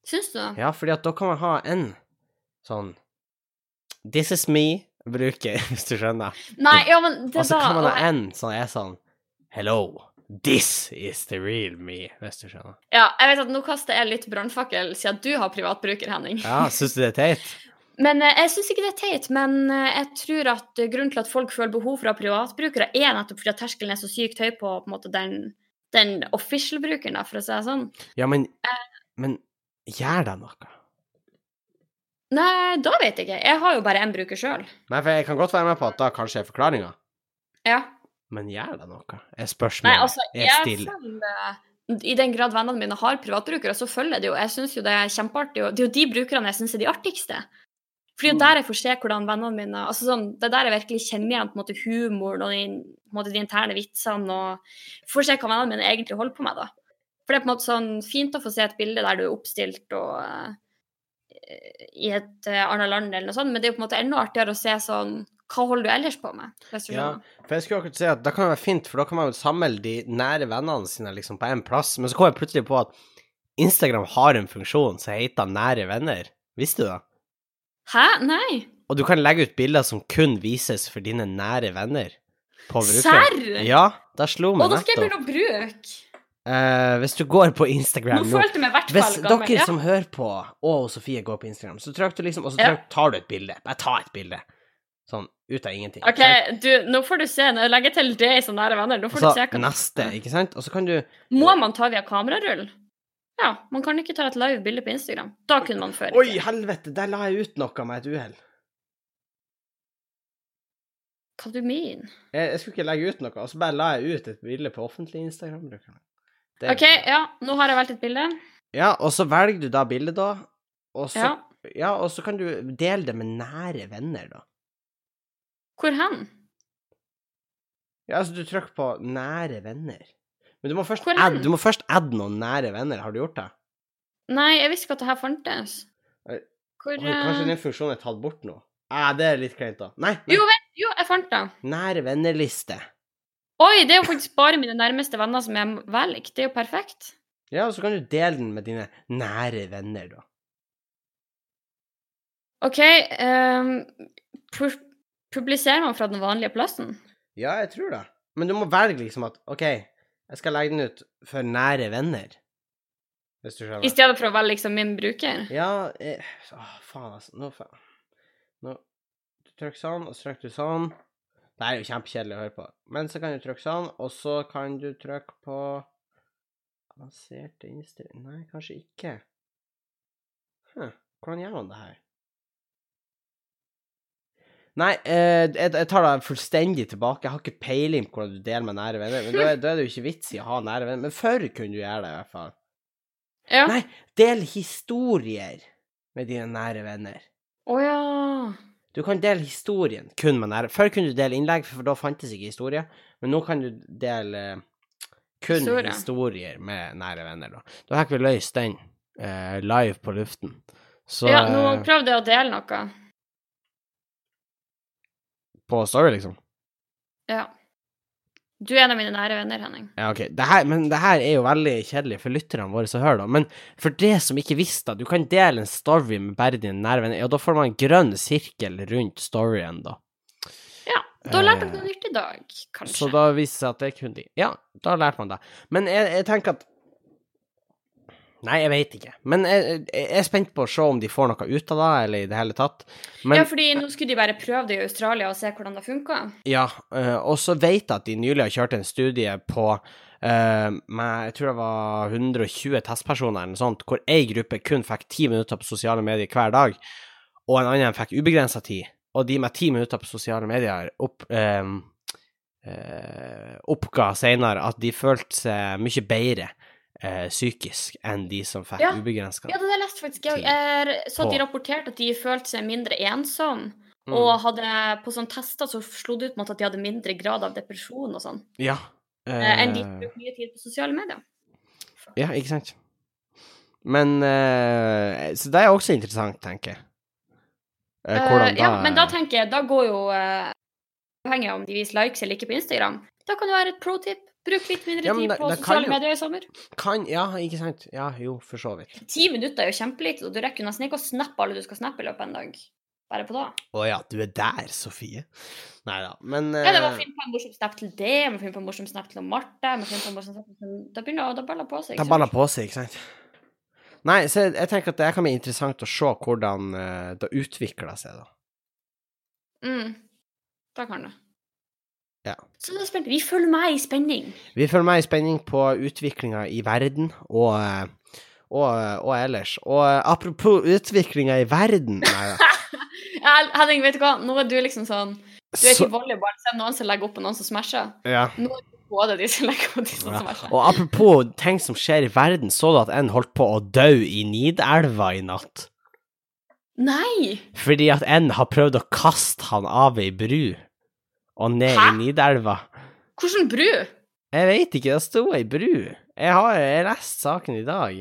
Syns du det?
Ja, fordi at da kan man ha en sånn This is me-bruker, hvis du skjønner.
Nei, ja, men det
Og så
da
Altså, kan man
og
ha en som er sånn Hello, this is the real me, hvis du skjønner.
Ja, jeg vet at nå kaster jeg litt brannfakkel siden du har privatbruker, Henning.
Ja, syns du det er teit?
Men eh, jeg syns ikke det er teit, men eh, jeg tror at eh, grunnen til at folk føler behov for å ha privatbrukere, er nettopp fordi at terskelen er så sykt høy på, på en måte, den, den official-brukeren, da, for å si det sånn.
Ja, men Men gjør da noe.
Nei, da vet jeg ikke. Jeg har jo bare én bruker sjøl.
Nei, for jeg kan godt være med på at da kanskje er forklaringa,
Ja.
men gjør da noe. Er
Nei,
spørsmålet
altså,
er
jeg
stille.
følger I den grad vennene mine har privatbrukere, så følger jeg det jo. Jeg syns jo det er kjempeartig. Og det er jo de brukerne jeg syns er de artigste. Fordi det
Mm.
er der jeg får se hvordan vennene mine altså sånn, Det er der jeg virkelig kjenner igjen på en måte humoren og de, på en måte, de interne vitsene og Får se hva vennene mine egentlig holder på med, da. For det er på en måte sånn fint å få se et bilde der du er oppstilt og eh, i et eh, annet land eller noe sånt, men det er jo på en måte enda artigere å se sånn Hva holder du ellers på med? Hvis du
Ja,
skjønner.
for jeg skulle akkurat si at da kan det være fint, for da kan man jo samle de nære vennene sine liksom på én plass, men så kom jeg plutselig på at Instagram har en funksjon som heter nære venner. Visste du det?
Hæ? Nei?
Og du kan legge ut bilder som kun vises for dine nære venner på brukeren.
Serr?
Ja, da slo
Og
meg
da skal jeg
nettopp.
begynne å bruke.
Eh, hvis du går på
Nå
Instagram nå
følte jeg meg i hvert
Hvis
fall
dere
gammel. Ja.
som hører på, og Sofie går på Instagram, så trykker du liksom, og så
Ja.
trykker, tar du et bilde. Bare ta et bilde. Sånn ut av ingenting.
OK, du, nå får du se. Nå legger jeg til det i sånne nære venner. Nå får
Så
du se hva
neste, ikke sant? Og så kan du
Må man ta via kamerarull? Ja, man kan ikke ta et live bilde på Instagram. Da kunne man før.
Oi, helvete, der la jeg ut noe med et uhell.
Hva du mener?
Jeg, jeg skulle ikke legge ut noe, og så bare la jeg ut et bilde på offentlig Instagram-brukeren. Det-
OK, ja, nå har jeg valgt et bilde.
Ja, og så velger du da bildet, da. Og så,
Ja.
ja. og så kan du dele det med nære venner, da.
Hvor hen?
Ja, altså, du trykker på 'nære venner'. Men du må først
Hvor hen?
add, du må først add noen nære venner. Har du gjort det?
Nei, jeg visste ikke at det her fantes.
Oi.
Hvor
Oi, kanskje
eh,
den funksjonen er tatt bort nå? Ah, det er litt kleint, da. Nei, nei.
Jo, vent, jo, jeg fant det.
nære venner-liste.
Oi, det er jo faktisk bare mine nærmeste venner som jeg velger. Det er jo perfekt.
Ja, og så kan du dele den med dine nære venner, da.
OK, ehm, pu- publiserer man fra den vanlige plassen?
Ja, jeg tror det. Men du må velge liksom at OK, jeg skal legge den ut for nære venner. Hvis du
I
skjønner.
stedet for å velge liksom min bruker?
Ja eh, Åh, faen, altså. Nå faen. Nå Du trykker sånn, og så trykker du sånn. Det her er jo kjempekjedelig å høre på. Men så kan du trykke sånn, og så kan du trykke på Avanserte innstillinger Nei, kanskje ikke. Hm, hvordan gjør man det her? Nei, eh, jeg, jeg tar deg fullstendig tilbake. Jeg har ikke peiling på hvordan du deler med nære venner. Men da, er- da er det jo ikke vits i å ha nære venner. Men før kunne du gjøre det, i hvert fall.
Ja.
Nei. Del historier med dine nære venner.
Å ja.
Du kan dele historien kun med nære. Før kunne du dele innlegg, for da fantes ikke historie. Men nå kan du dele eh, kun
Historie.
historier med nære venner. Da, da fikk vi løst den eh, live på luften. Så
ja. Nå
eh,
prøvde jeg å dele noe.
På Story, liksom.
Ja. Du er en av mine nære venner, Henning.
Ja, ok. Det her, men det her er jo veldig kjedelig for lytterne våre som hører, da. Men for det som ikke visste, du kan dele en story med bare dine nære venner. Ja, da får man en grønn sirkel rundt storyen, da.
Ja, Da lærte
Eh,
dere noe nytt i dag, kanskje.
Så da viser det seg at det er kun de. Ja, da lærte man det. Men jeg, jeg tenker at Nei, jeg veit ikke. Men jeg, jeg er spent på å se om de får noe ut av det, eller i det hele tatt. Men
Ja, fordi nå skulle de bare prøve det i Australia og se hvordan det funka.
ja, eh, og så veit jeg at de nylig har kjørt en studie på eh, med, Jeg tror det var 120 testpersoner eller noe sånt, hvor ei gruppe kun fikk ti minutter på sosiale medier hver dag, og en annen fikk ubegrensa tid. Og de med ti minutter på sosiale medier opp, eh, eh, oppga seinere at de følte seg mye bedre eh, psykisk enn de som fikk
Ja.
ubegrensa.
Ja, det der leste faktisk jeg
Tid.
òg. Så at de
På.
rapporterte at de følte seg mindre ensomme.
Mm.
Og hadde, på sånne tester så slo det ut med at de hadde mindre grad av depresjon og sånn,
ja.
eh, enn de som
eh,
brukte mye tid på sosiale medier.
Ja, ikke sant. Men eh, Så det er også interessant, tenker jeg. Eh, Hvordan
Eh,
da?
ja, men da tenker jeg, da går jo eh, Avhengig av om de viser likes eller ikke på Instagram, da kan det være et pro-tip. Bruk litt mindre
Ja, men
tid
det-
på
det kan
sosiale
jo-
medier i sommer.
Kan Ja, ikke sant? Ja, jo, for så vidt.
Ti minutter er jo kjempelite, og du rekker jo nesten ikke å snappe alle du skal snappe i løpet av en dag. Bare på da.
Å ja, du er der, Sofie. Nei da, men
Ja, det må
eh,
finne på en morsom snap til det, jeg må finne på en morsom snap til Marte jeg må finne på en morsom snap til... Da begynner det å balle på seg.
Ta
ikke
baller
sant?
på seg, ikke sant? Nei, så jeg, jeg tenker at det kan bli interessant å se hvordan eh, det utvikler seg, da.
Mm. Da kan det.
Ja.
Så det er spent. Vi følger med i spenning.
Vi følger med i spenning på utviklinga i verden og, eh, og, og ellers. Og eh, apropos utviklinga i verden Nei da.
Ja, Henning, vet du hva? Nå er du liksom sånn Du vet
Så-
i volleyball, så er det noen som legger opp, og noen som smasher.
Ja.
Både de som legger opp, og de Sånn som
Ja.
smasher.
Og apropos ting som skjer i verden, så du at en holdt på å dø i Nidelva i natt?
Nei!
Fordi at en har prøvd å kaste han av ei bru og ned
Hæ?
i Nidelva.
Hvordan bru?
Jeg veit ikke, det sto ei bru. Jeg har jeg lest saken i dag.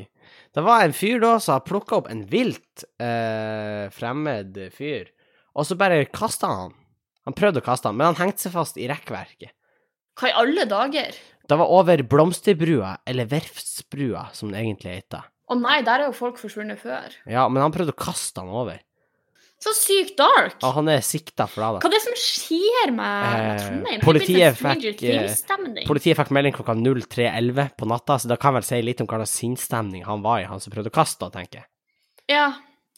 Det var en fyr da som har plukka opp en vilt eh, fremmed fyr, og så bare kasta han han. Han prøvde å kaste han, men han hengte seg fast i rekkverket.
Hva i alle dager?
Det var over Blomsterbrua, eller Verftsbrua, som det egentlig heter.
Å nei, der er jo folk forsvunnet før.
Ja, men han prøvde å kaste han over.
Så sykt dark!
Og han er sikta for det. da.
Hva er det som skjer med med
Eh,
Trondheim? Det er
politiet
blitt en Stranger
fikk, eh,
Things-stemning.
Politiet fikk melding klokka 03.11 på natta, så det kan vel si litt om hva slags sinnsstemning han var i, han som prøvde å kaste, da, tenker jeg.
Ja.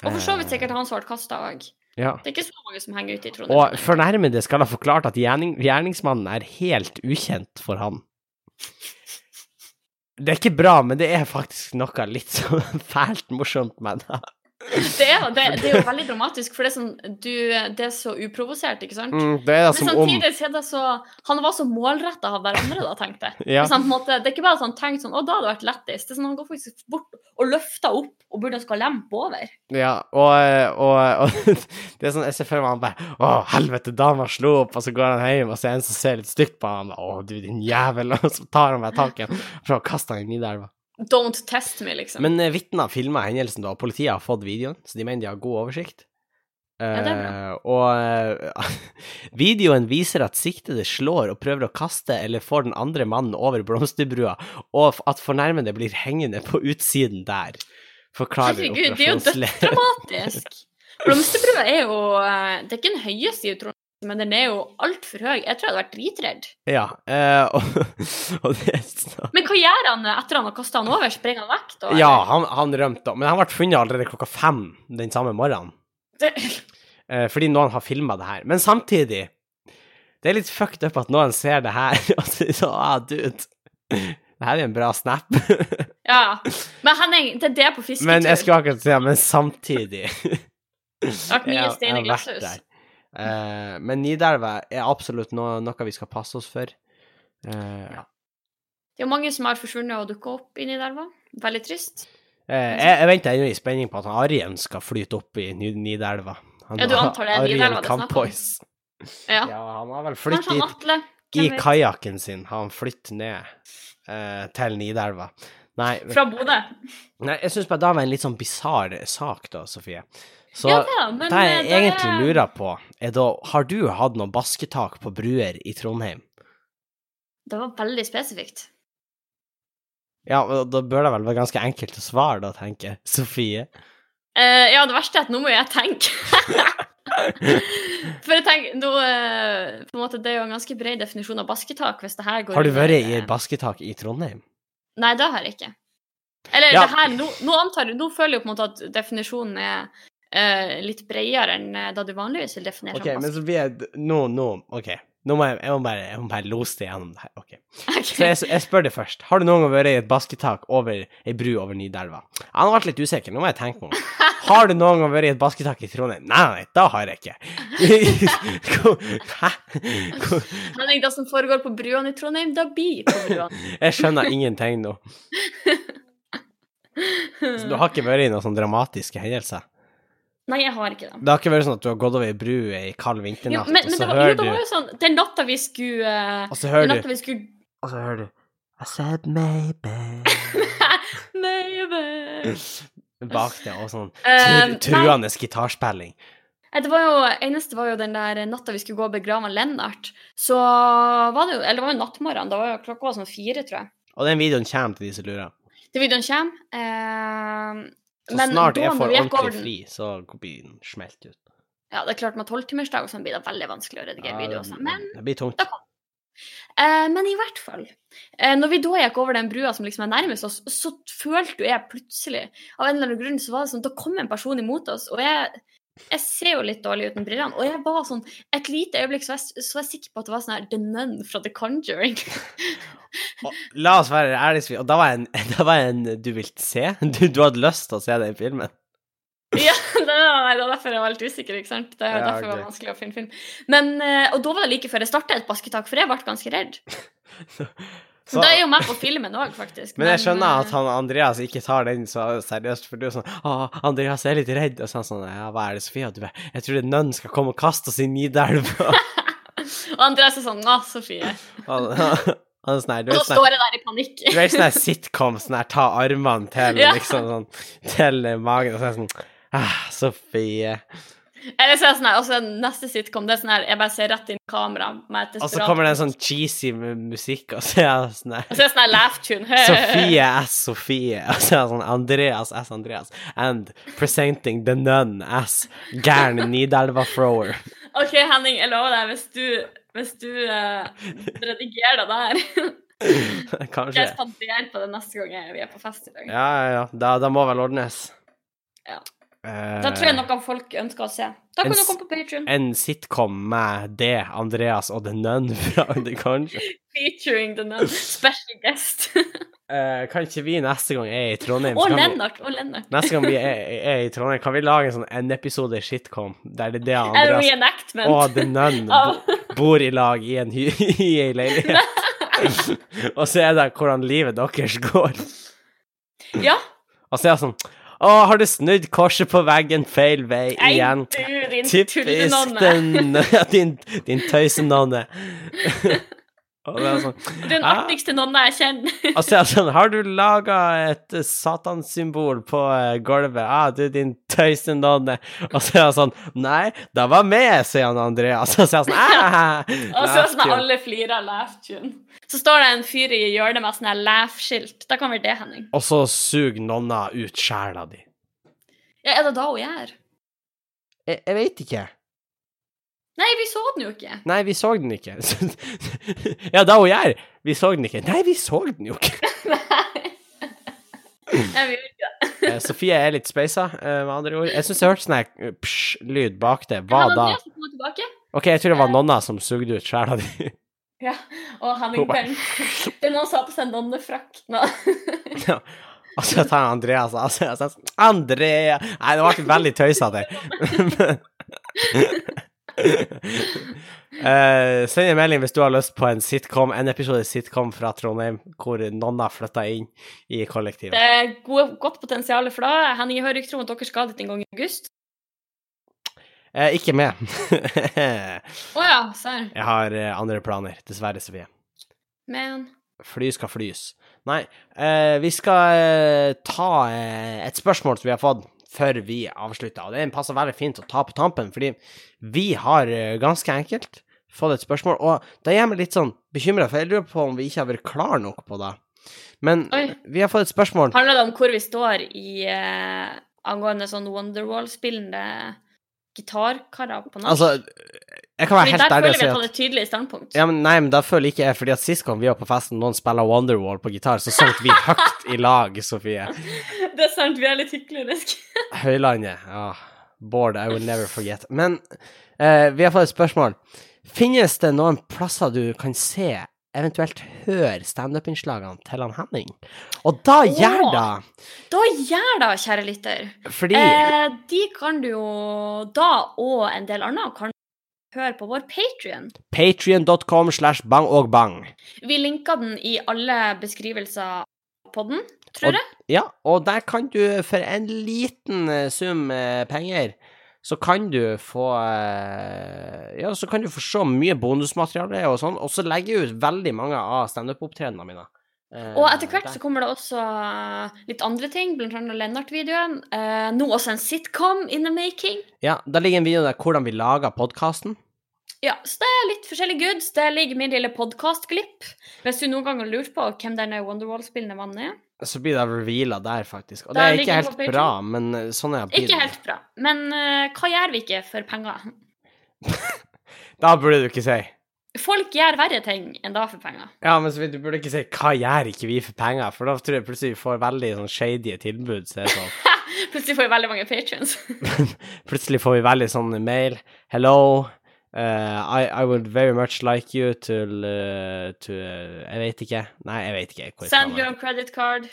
Og for så vidt
Eh.
sikkert han som ble kasta òg.
Ja.
Det er ikke så mange som henger ute i Trondheim.
Og fornærmede skal ha forklart at gjerning, gjerningsmannen er helt ukjent for han. Det er ikke bra, men det er faktisk noe litt sånn fælt morsomt med det.
det, er, jo- det, det er jo veldig dramatisk, for det er, sånn, du, det er så uprovosert, ikke sant?
Mm, det er da
Men
som om
samtidig så er det så Han var så målretta av hverandre, da, tenkte jeg.
ja.
Hvis han på en måte, det er ikke bare at han tenkte sånn 'Å, da hadde det vært lettest'. Det er sånn Han går faktisk bort og løfter opp og burde skal lempe over.
ja og, og, og det er sånn jeg ser for meg han bare Å, helvete, dama slo opp, og så går han hjem, og så er det en som ser litt stygt på han Å, du din jævel, og så tar han meg tak i han for å kaste han i Nidelva.
Don't test me, liksom.
Men eh, vitner filma hendelsen, da, og politiet har fått videoen, så de mener de har god oversikt.
det er
Eh, og eh, videoen viser at siktede slår og prøver å kaste eller får den andre mannen over blomsterbrua, og f- at fornærmede blir hengende på utsiden der. Forklarer
Herregud, det er jo
operasjonsleder.
Dramatisk. Blomsterbrua er jo eh, Det er ikke den høyeste i Trondheim, men den er jo altfor høy. Jeg tror jeg hadde vært dritredd.
Ja, eh, og, og det er sånn-
Men hva gjør han etter han har kasta han over? Springer han vekk, da?
Ja, han, han rømte, men han ble funnet allerede klokka fem den samme morgenen.
Det,
Eh, fordi noen har filma det her. Men samtidig Det er litt fucked up at noen ser det her og sier sånn ah, dude. Det her er en bra snap.
ja. Men Henning, det er det på fisketur.
Men jeg skulle akkurat si det, men samtidig
Det har vært mye stein i glasshus.
Eh, men Nidelva er absolutt noe, noe vi skal passe oss for. Eh,
Det er jo mange som har forsvunnet og dukka opp inni der, hva? Veldig trist.
eh, jeg jeg venter ennå i spenning på at han Arjen skal flyte opp i Ny- Nidelva. Han-
Ja, du antar det er
Arjen
Nidelva det er snakk om?
Kampois.
Ja.
Ja, han har vel flyttet
Kanskje han
dit
Atle.
I
Hvem vet?
kajakken sin har han flyttet ned eh, til Nidelva. Nei,
Fra Bodø.
nei jeg syns bare det var en litt sånn bisarr sak, da, Sofie. Så
Ja da,
det
men
jeg
eh, da
egentlig
er-
lurer på, er da Har du hatt noe basketak på bruer i Trondheim?
Det var veldig spesifikt.
Ja, og da bør det vel være ganske enkelt å svare, da, tenker jeg. Sofie.
Eh, ja, det verste er at nå må jeg tenke. For jeg tenker, nå, eh, på en måte, Det er jo en ganske bred definisjon av basketak. hvis det her går...
Har du
inn
vært
et,
i
eh,
et basketak i Trondheim?
Nei, det har jeg ikke. Eller
Ja.
det her, nå, nå antar jeg, nå føler jeg jo på en måte at definisjonen er eh, litt bredere enn eh, da du vanligvis vil definere
OK, men
som
Sofie, d- nå, nå, OK. Nå må jeg, jeg, må bare, jeg må bare lose det gjennom det her. OK.
basketak.
Så jeg, jeg spør deg først. Har du noen gang vært i et basketak over ei bru over Nidelva? Han ble litt usikker, nå må jeg tenke meg om. Har du noen gang vært i et basketak i Trondheim? Nei, nei, da har jeg ikke. Hvor- Hæ? Hvor-
Henning, det som foregår på bruene i Trondheim, da blir på bruene.
Jeg skjønner ingenting nå. Så du har ikke vært i noen sånne dramatiske hendelser?
Nei, jeg har ikke det.
Det har ikke vært sånn at du har gått over ei bru ei kald
Jo,
vinternatt,
men,
og
men
så
det, var, jo,
hører
det
du
var jo sånn Den natta vi skulle eh,
Og så
Den
hører du
natta vi skulle
Og så hører du I said maybe
Maybe.
Bak det, og sånn
Eh,
tru- truende gitarspilling.
Eh, Det var jo, eneste var jo den der natta vi skulle gå og begrave Lennart. Så var det jo Eller det var jo nattmorgen. Da var jo klokka var sånn fire, tror jeg.
Og den videoen kommer til de som lurer.
Det videoen kommer. Eh,
Så
men
snart
da
jeg
når
får
vi gikk over
ordentlig
den-
fri, så blir den smelt ut.
Ja, det er klart med tolvtimersdag og sånn blir det veldig vanskelig å redigere
Ja,
video.
det-
og sånn. Men,
Ah, Det blir tungt.
eh, men i hvert fall. Eh, når vi da gikk over den brua som liksom er nærmest oss, så følte jo jeg plutselig Av en eller annen grunn så var det sånn Da kom en person imot oss, og jeg jeg ser jo litt dårlig uten brillene, og jeg var sånn Et lite øyeblikk så var jeg, så var jeg sikker på at det var sånn her The Nun fra The Conjuring.
Og, la oss være ærlige, og da var jeg en, da var jeg en du vil se? Du, du hadde lyst til å se den filmen?
ja, det var, nei, det var derfor jeg var litt usikker, ikke sant? Det var
Ja,
derfor det
ok.
var vanskelig å finne film. Men, eh, og da var det like før jeg startet et basketak, for jeg ble ganske redd.
Så-
det er jo med på filmen òg, faktisk.
Men jeg skjønner
eh,
at han Andreas ikke tar den så seriøst, for du er sånn Å, Andreas er litt redd, og så er han sånn Ja, hva er det, Sofie? Og du bare Jeg tror en nønn skal komme og kaste oss i Nidelva.
Og Andreas er sånn Å, Sofie.
han han er sånn her, Du
Og
er
så
sånn her-
står jeg der i panikk.
du er sånn her sitcom, sånn her ta armene til
Ja.
liksom sånn Til eh, magen, og så er jeg sånn Ah, Sofie.
Eller så er jeg sånn her, og så er neste sitcom det er sånn her Jeg bare ser rett inn i kamera med et
Og så
desperat
kommer det en sånn cheesy mu- musikk, og så er jeg sånn her
Og så er jeg sånn her laugh tune.
Sofie S. Sofie. Og så er det sånn Andreas S. Andreas. And presenting the nun as gæren Nidelva-thrower.
OK, Henning, jeg lover deg, hvis du, hvis du eh, redigerer det der
Kanskje.
Jeg spanderer på det neste gang jeg- vi er på fest i dag.
Ja, ja, ja. Da, da må vel ordnes.
Ja.
Eh,
Da tror jeg noen folk ønsker å se. Da
En
kan du
s-
komme på Patreon
En sitcom med det, Andreas og The Nun fra The Conjure.
Featuring the nun. Special guest.
Eh, kan ikke vi neste gang er i Trondheim så
og
kan vi-
Lennart. Og Lennart.
Neste gang vi er, er i Trondheim, kan vi lage en sånn en episode sitcom der det er det
En
Andreas
reenactment.
og The Nun bo,
av-
bor i lag i en, hy i en leilighet. og så er det hvordan livet deres går.
Ja.
Og så er det sånn Å, har du snudd korset på veggen feil vei
Nei,
igjen?
du, din
Typisk
tullenonne.
den Din, din tøysenonne. Og det er sånn
Den
Ah.
artigste nonna jeg kjenner.
Altså, altså, har du laga et eh, satansymbol på eh, gulvet? Ah, du, din tøysenonne. Og så er han sånn Nei, det var meg, sier han Andreas. Og så er han sånn «Ah,
Og så
laugh
sånn at
tune».
alle flirer av laugh tune. Så står det en fyr i hjørnet med sånn her laugh-skilt. Da kan vel det, Henning?
Og så suger nonna ut sjela di.
Ja, er det da hun gjør?
Jeg, jeg veit ikke.
Nei, vi så den jo ikke.
Nei, vi så den ikke. ja, da hun gjør. Vi så den ikke. Nei, vi så den jo ikke.
Nei, vi gjorde ikke det.
Eh, Sofie er litt speisa, eh, med andre ord. Jeg syns jeg hørte sånn her eh, psj-lyd bak det. Hva
Men
da?
Andreas kommer tilbake,
OK, jeg tror det var nonna som sugde ut sjela di.
og Henning
Hun bare-
Bent. Det er noen som har på seg nonnefrakk nå.
Og så tar jeg Andreas og så er jeg sånn Andrea Nei, det ble veldig tøysete. Eh, send en melding hvis du har lyst på en sitcom En episode sitcom fra Trondheim hvor nonna flytta inn i kollektivet.
Det er gode, godt potensial for det. Henning, jeg hører ikke tro at dere skal dit en gang i august.
Eh, ikke med.
Å ja, serr.
jeg har eh, andre planer, dessverre, Sofie.
Men
Fly skal flys. Nei, eh, vi skal eh, ta eh, et spørsmål som vi har fått før vi avslutter. Og det passer veldig fint å ta på tampen, fordi vi har eh, ganske enkelt fått et spørsmål. Og det gjør meg litt sånn bekymra, for jeg lurer på om vi ikke har vært klar nok på det. Men
Oi.
vi har fått et spørsmål.
handler det om hvor vi står i eh, angående sånn Wonderwall-spillende gitarkarer på norsk?
Altså, jeg kan være
Fordi
helt
der
ærlig og
føler vi
si
at
at
han er tydelig i standpunkt.
Ja, men nei, men da føler jeg ikke jeg, fordi at sist gang vi var på festen, noen spiller Wonderwall på gitar, så sang vi høyt i lag, Sofie.
Det er sant, vi er litt hykleriske.
Høylandet. Ja. Bård, I will never forget. Men eh, vi har fått et spørsmål. Finnes det noen plasser du kan se, eventuelt høre, standup-innslagene til han Henning? Og da
Åh.
gjør det!
Da gjør det, kjære lytter.
Fordi
Eh, de kan du jo da, og en del annet, kan du høre på vår Patrion.
patrion.com slash bang og bang.
Vi linker den i alle beskrivelser på den, tror jeg.
Ja, og der kan du for en liten eh, sum eh, penger så kan du få eh, Ja, så kan du få se mye bonusmateriale og sånn, og så legger jeg ut veldig mange av standup-opptredenene mine Eh,
Og etter hvert
der-
så kommer det også eh, litt andre ting, blant annet Lennart-videoen. Eh, nå også en sitcom in the making.
Ja, da ligger en video der hvordan vi lager podkasten.
Ja, så det er litt forskjellig goods. Det ligger min lille podkastglipp. Hvis du noen gang har lurt på hvem denne Wonderwall-spillende mannen er.
Så blir det reveala der, faktisk. Og det
Der
er ikke
ligger den
helt
på Patreon.
bra, men eh, sånn er det.
Ikke helt bra. Men eh, hva gjør vi ikke for penger?
Da burde du ikke si.
Folk gjør verre ting enn da for penger.
Ja, men så vil- du burde ikke si 'hva gjør ikke vi for penger', for da tror jeg plutselig vi får veldig sånn shady tilbud. Så er det sånn.
Plutselig får vi veldig mange patrions.
plutselig får vi veldig sånn mail 'hello'. eh, I, I would very much like you to, eh, to eh, Jeg vet ikke. Nei, jeg vet ikke. hvor jeg skal
Send
være.
your credit card.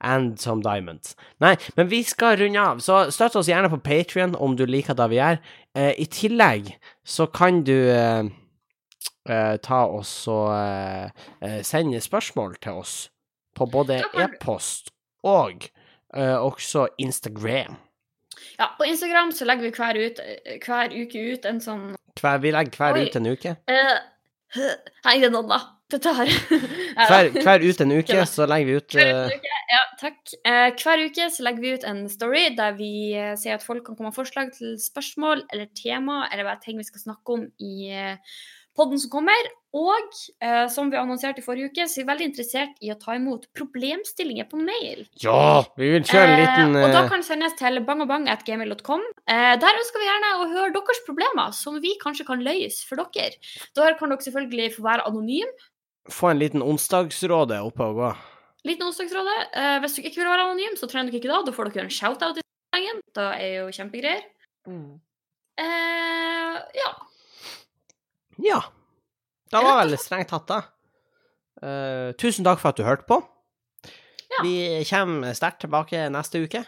and some diamonds. Nei, men vi skal runde av, så støtt oss gjerne på Patrion om du liker det vi gjør. Eh, I tillegg så kan du eh, eh, ta oss og eh, eh, sende spørsmål til oss på både
Da kan du-
e-post og eh, også Instagram.
Ja, på Instagram så legger vi hver, ut, hver uke ut en sånn
Hver, vi legger hver
Oi.
ut en uke.
eh, Hei, det er Nonna. Dette her.
Hver, hver ut en
Kødda.
uke, så legger vi ut
Hver
eh,
uke, ja, takk. Eh, hver uke så legger vi ut en story der vi eh, sier at folk kan komme med forslag til spørsmål eller tema eller bare ting vi skal snakke om i eh, podden som kommer. Og eh, som vi annonserte i forrige uke, så er vi veldig interessert i å ta imot problemstillinger på mail.
Ja! Vi vil kjøre en liten
eh, og da
eh,
kan det sendes til bangabang.gmail.com. Eh, der ønsker vi gjerne å høre deres problemer, som vi kanskje kan løse for dere. Da kan dere selvfølgelig få være anonyme.
få en liten onsdagsråde oppe og gå.
Liten onsdagsråde. Eh, hvis dere ikke vil være anonym, så trenger dere ikke da. Da får dere en shout-out i sangen. Da er jo kjempegreier. Mm. Eh, ja.
Ja. Det var vel strengt tatt, da. Eh, tusen takk for at du hørte på.
Ja.
Vi kommer sterkt tilbake neste uke.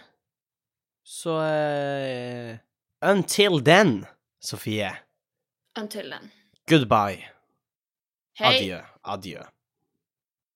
Så eh, Until then, Sofie.
Until then.
Goodbye.
Hei.
Adjø. Adjø.